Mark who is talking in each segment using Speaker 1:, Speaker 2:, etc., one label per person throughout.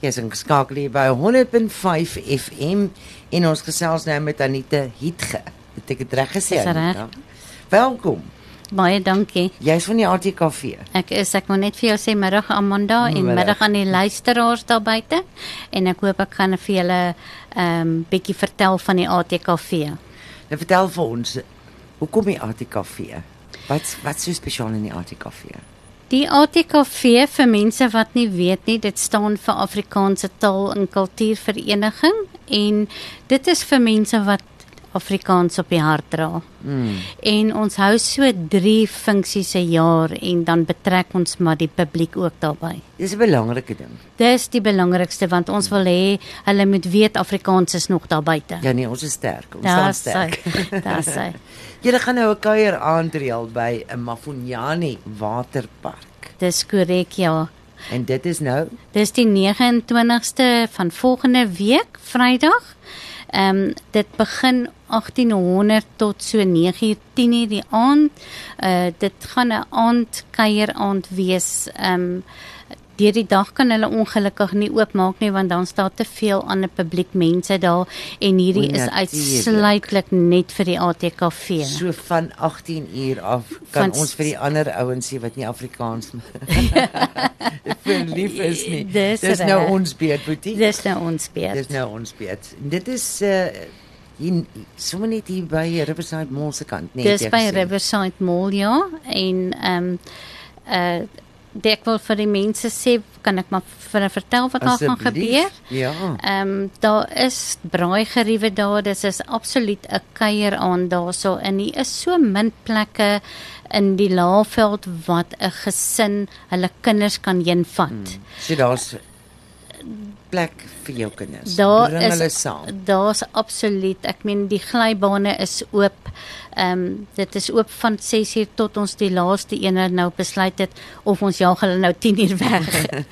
Speaker 1: verkiesing skakel hier by 100.5 FM en ons gesels nou met Anita Hietge. Het ek dit reg gesê?
Speaker 2: Dis reg.
Speaker 1: Anita? Welkom.
Speaker 2: Baie dankie.
Speaker 1: Jy's van die ATKV.
Speaker 2: Ek is ek moet net vir jou sê middag Amanda en
Speaker 1: Middag.
Speaker 2: middag aan die luisteraars daar buite en ek hoop ek gaan vir julle ehm um, bietjie vertel van die ATKV.
Speaker 1: Nou vertel vir ons, hoekom die ATKV? Wat wat so spesiaal in die ATKV?
Speaker 2: Die ATKV vir mense wat nie weet nie, dit staan vir Afrikaanse Taal en Kultuurvereniging en dit is vir mense wat Afrikaans op die hart dra.
Speaker 1: Mm.
Speaker 2: En ons hou so 3 funksies 'n jaar en dan betrek ons maar die publiek ook daarbey.
Speaker 1: Dis 'n belangrike ding.
Speaker 2: Dis die belangrikste want ons wil hê hulle moet weet Afrikaans is nog daar buite.
Speaker 1: Ja nee, ons is sterk. Ons staan sterk.
Speaker 2: Daar's hy.
Speaker 1: Julle gaan nou 'n kuier aandreël by 'n Mafunyani waterpark.
Speaker 2: Dis korrek ja.
Speaker 1: En dit is nou
Speaker 2: Dis die 29ste van volgende week, Vrydag. Ehm dit begin 1800 tot so 9uur, 10uur die aand. Uh dit gaan 'n aand kuier aand wees. Ehm deur die dag kan hulle ongelukkig nie oopmaak nie want dan staan te veel ander publiek mense daar en hierdie
Speaker 1: O,
Speaker 2: is
Speaker 1: natuurlijk.
Speaker 2: uitsluitlik net vir die ATKV.
Speaker 1: So van 18 uur af kan
Speaker 2: Ja. Van
Speaker 1: van
Speaker 2: s-
Speaker 1: ons vir die ander ouens sê wat nie Afrikaans verlief is nie.
Speaker 2: Dis
Speaker 1: Dis nou
Speaker 2: reg.
Speaker 1: ons beurt, Boetie.
Speaker 2: Dis nou ons beurt.
Speaker 1: Dis nou ons beurt. En Dit is uh hier sommer net hier by Riverside Mall se kant, nee.
Speaker 2: Dis by Riverside Mall ja en ehm eh die- ek wil vir die mense sê kan ek maar vir hulle vertel wat daar gaan gebeur.
Speaker 1: Ja.
Speaker 2: Ehm daar is braaigeriewe daar. Dis is absoluut 'n kuier aan daarso in. Hier is so min plekke in die Laagveld wat 'n gesin hulle kinders kan heenvat. Hmm.
Speaker 1: So daar's plek vir jou kinders.
Speaker 2: Daar
Speaker 1: Bring hulle
Speaker 2: is
Speaker 1: saam.
Speaker 2: daar's absoluut. Ek meen die glybane is oop. Ehm dit is oop van 6uur tot ons die laaste een nou besluit het of ons jaag hulle nou 10uur weg.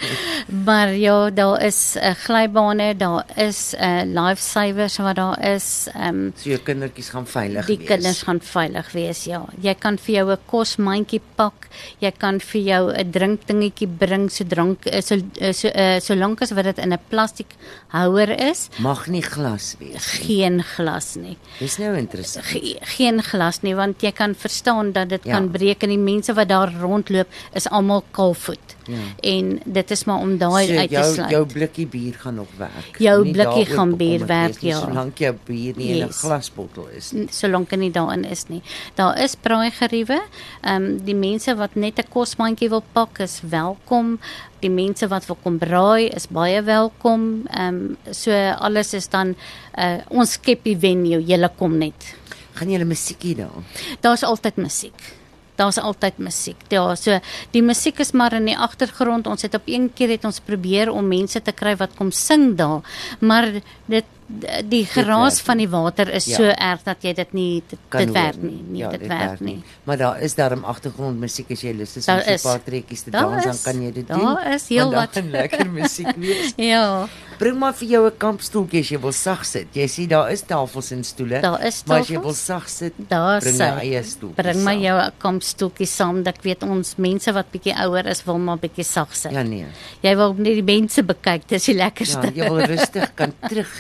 Speaker 2: maar ja, daar is 'n uh, glybane, daar is 'n uh, lifesavers wat daar is. Ehm
Speaker 1: So jou kindertjies gaan veilig
Speaker 2: die
Speaker 1: wees.
Speaker 2: kinders gaan veilig wees, ja. Jy kan vir jou 'n kosmandjie pak, jy kan vir jou 'n drinkdingetjie bring so drank eh, so eh, so eh, solank as wat dit in 'n plastiek houer is
Speaker 1: mag nie glas wees.
Speaker 2: geen glas nie.
Speaker 1: Dis nou interessant.
Speaker 2: Ge geen glas nie want jy kan verstaan dat dit
Speaker 1: Ja.
Speaker 2: ja. kan breek en die mense wat daar rondloop is almal kaalvoet.
Speaker 1: Ja.
Speaker 2: En dit is maar om daai
Speaker 1: So
Speaker 2: uit te
Speaker 1: jou,
Speaker 2: sluit.
Speaker 1: Jou blikkie bier gaan nog werk.
Speaker 2: Jou
Speaker 1: Nie
Speaker 2: blikkie
Speaker 1: daaroor
Speaker 2: gaan bier
Speaker 1: bekommerd
Speaker 2: werk,
Speaker 1: wees nie,
Speaker 2: ja.
Speaker 1: Solank jou bier nie in 'n
Speaker 2: Yes.
Speaker 1: glasbottel is nie.
Speaker 2: solank hy nie daarin is nie. Daar is braaigeriewe. Ehm die mense wat net 'n kosmandjie wil pak is welkom. Die mense wat wil kom braai is baie welkom. Ehm so alles is dan uh, ons skep die venue. Jy kom net.
Speaker 1: Gaan jy 'n musiekie daar?
Speaker 2: daar's altyd musiek. Daar's altyd musiek. Ja, so die musiek is maar in die agtergrond. Ons het op een keer het ons probeer om mense te kry wat kom sing daar, maar dit die geraas
Speaker 1: werk
Speaker 2: van die water is
Speaker 1: Ja.
Speaker 2: so erg dat jy dit nie dit,
Speaker 1: Kan
Speaker 2: dit
Speaker 1: hoor
Speaker 2: werk nie, nie
Speaker 1: Ja,
Speaker 2: dit, werk nie.
Speaker 1: Maar daar is daarom agtergrondmusiek as jy lus is om
Speaker 2: Daar
Speaker 1: so 'n
Speaker 2: is.
Speaker 1: paar treetjies te
Speaker 2: Daar
Speaker 1: dans, dan
Speaker 2: is.
Speaker 1: kan jy dit
Speaker 2: Daar
Speaker 1: doen.
Speaker 2: is heel
Speaker 1: want dan gaan
Speaker 2: wat.
Speaker 1: lekker musiek wees.
Speaker 2: Ja,
Speaker 1: Bring maar vir jou 'n kampstoeltjie as jy wil sag sit. Jy sien daar is tafels en stoele.
Speaker 2: Daar is
Speaker 1: Maar as jy
Speaker 2: tafels.
Speaker 1: wil sag sit,
Speaker 2: daar
Speaker 1: bring
Speaker 2: sy.
Speaker 1: jou eie stoel.
Speaker 2: Bring maar jou kampstoeltjie saam dat ek weet ons mense wat bietjie ouer is wil maar bietjie sag sit.
Speaker 1: Ja nee.
Speaker 2: Jy wil net die mense bekyk, dis die
Speaker 1: Ja,
Speaker 2: lekkerste.
Speaker 1: jy wil rustig kan terug.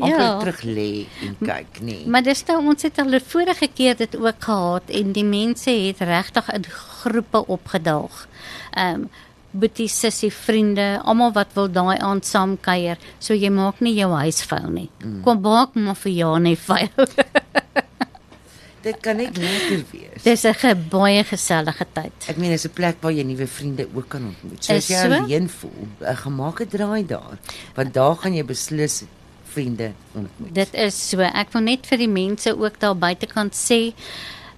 Speaker 1: amper
Speaker 2: Ja.
Speaker 1: terug lê en kyk, nee.
Speaker 2: Maar dis nou ons het al die vorige keer dit ook gehad en die mense het regtig in groepe opgedaag. Ehm um, boetie, sussie, vriende, almal wat wil daai aand saam kuier, so jy maak nie jou huis vuil nie. Mm. Kom maak maar vir jou net vuil.
Speaker 1: Dit kan net lekker wees.
Speaker 2: Dis 'n ge- baie gesellige tyd.
Speaker 1: Ek meen dis 'n plek waar jy nuwe vriende ook kan ontmoet. So as jy
Speaker 2: Is so?
Speaker 1: alleen voel, eh, 'n gemaakte draai daar, want daar gaan jy beslis vriende ontmoet.
Speaker 2: Dit is so. Ek wil net vir die mense ook daar buitekant sê,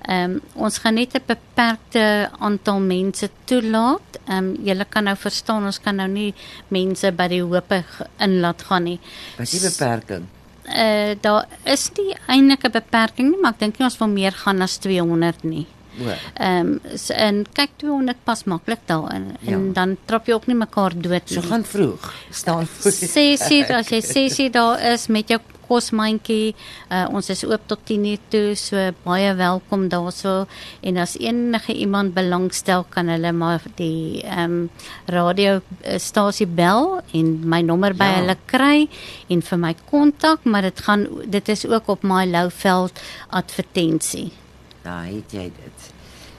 Speaker 2: ehm um, ons gaan net 'n beperkte aantal mense toelaat. Ehm um, julle kan nou verstaan, ons kan nou nie mense by die hope g- inlaat gaan nie.
Speaker 1: Wat is die beperking?
Speaker 2: Eh daar is nie eintlik 'n beperking nie, maar ek dink nie ons wil meer gaan as 200 nie.
Speaker 1: O,
Speaker 2: Ehm um, so, en kyk 200 pas maklik daarin en
Speaker 1: Ja.
Speaker 2: ja. dan trap jy ook nie mekaar dood nie.
Speaker 1: so gaan vroeg. Staan voor.
Speaker 2: Sê sê as jy sê sê daar is met jou kosmandjie. Uh, ons is oop tot 10:00 toe, so baie welkom daarso. En as enige iemand belangstel, kan hulle maar die ehm um, radiostasie bel en my nommer by
Speaker 1: Ja.
Speaker 2: hulle kry en vir my kontak, maar dit gaan dit is ook op my Louveld advertensie.
Speaker 1: Daar het jy dit.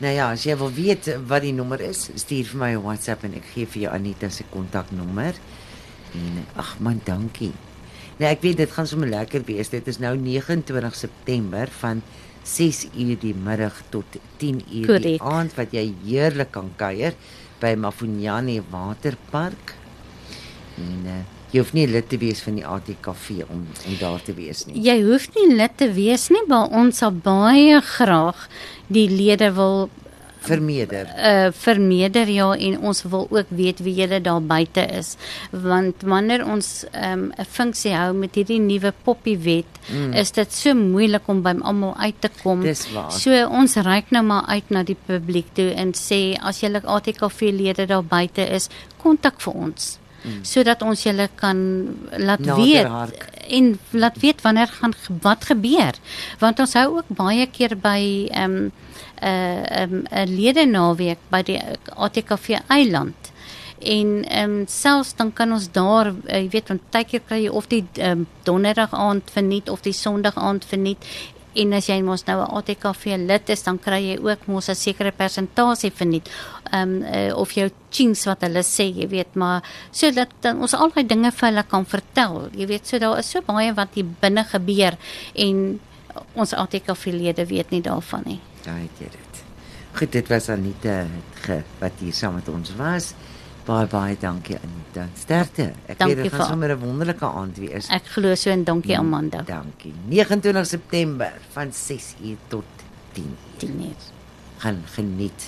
Speaker 1: Nou ja, as jy wil weet wat die nommer is, stuur vir my 'n WhatsApp en ek gee vir jou Anita se kontaknommer. En ag man, dankie. Nou ek weet dit gaan sommer lekker wees. Dit is nou 29 September van 6 uur die middag tot 10 uur die
Speaker 2: Korrek.
Speaker 1: aand wat jy heerlik kan kuier by Mafunyane Waterpark. En uh, jy hoef nie lid te wees van die ATKV om om daar te wees nie.
Speaker 2: Jy hoef nie lid te wees nie, maar ons sal baie graag die lede wil
Speaker 1: Vermeerder.
Speaker 2: uh vermeerder ja en ons wil ook weet wie julle daar buite is want wanneer ons um, 'n funksie hou met hierdie nuwe poppie wet mm. is dit so moeilik om by almal uit te kom
Speaker 1: Dis waar.
Speaker 2: so ons reik nou maar uit na die publiek toe en sê as julle ATKV lede daar buite is kontak vir ons mm. sodat ons julle kan laat
Speaker 1: Nader
Speaker 2: weet
Speaker 1: hark.
Speaker 2: en laat weet wanneer gaan ge- wat gebeur want ons hou ook baie keer by ehm um, 'n uh, um, 'n lede naweek by die ATKV eiland en ehm um, selfs dan kan ons daar eh, jy weet want baie keer kry jy of die ehm um, donderdag aand verniet of die sonderdag aand verniet en as jy mos nou 'n ATKV lid is dan kry jy ook mos 'n sekere persentasie verniet ehm um, uh, of jou chings wat hulle sê, jy weet, maar sodat dan ons al daai dinge vir hulle kan vertel. Jy weet, so daar is so baie wat hier binne gebeur en ons ATKV-lede weet nie daarvan nie.
Speaker 1: Daar het jy dit. Goed, dit was Anita Ge wat hier saam met ons was. Baie baie dankie Anita. Sterkte. Ek
Speaker 2: Dankie
Speaker 1: weet dit gaan
Speaker 2: vir-
Speaker 1: sommer 'n wonderlike aand wees.
Speaker 2: Ek glo so en
Speaker 1: Mm.
Speaker 2: dankie Amanda.
Speaker 1: Dankie. 29 September van 6uur tot 10uur.
Speaker 2: Dit net.
Speaker 1: Gaan geniet.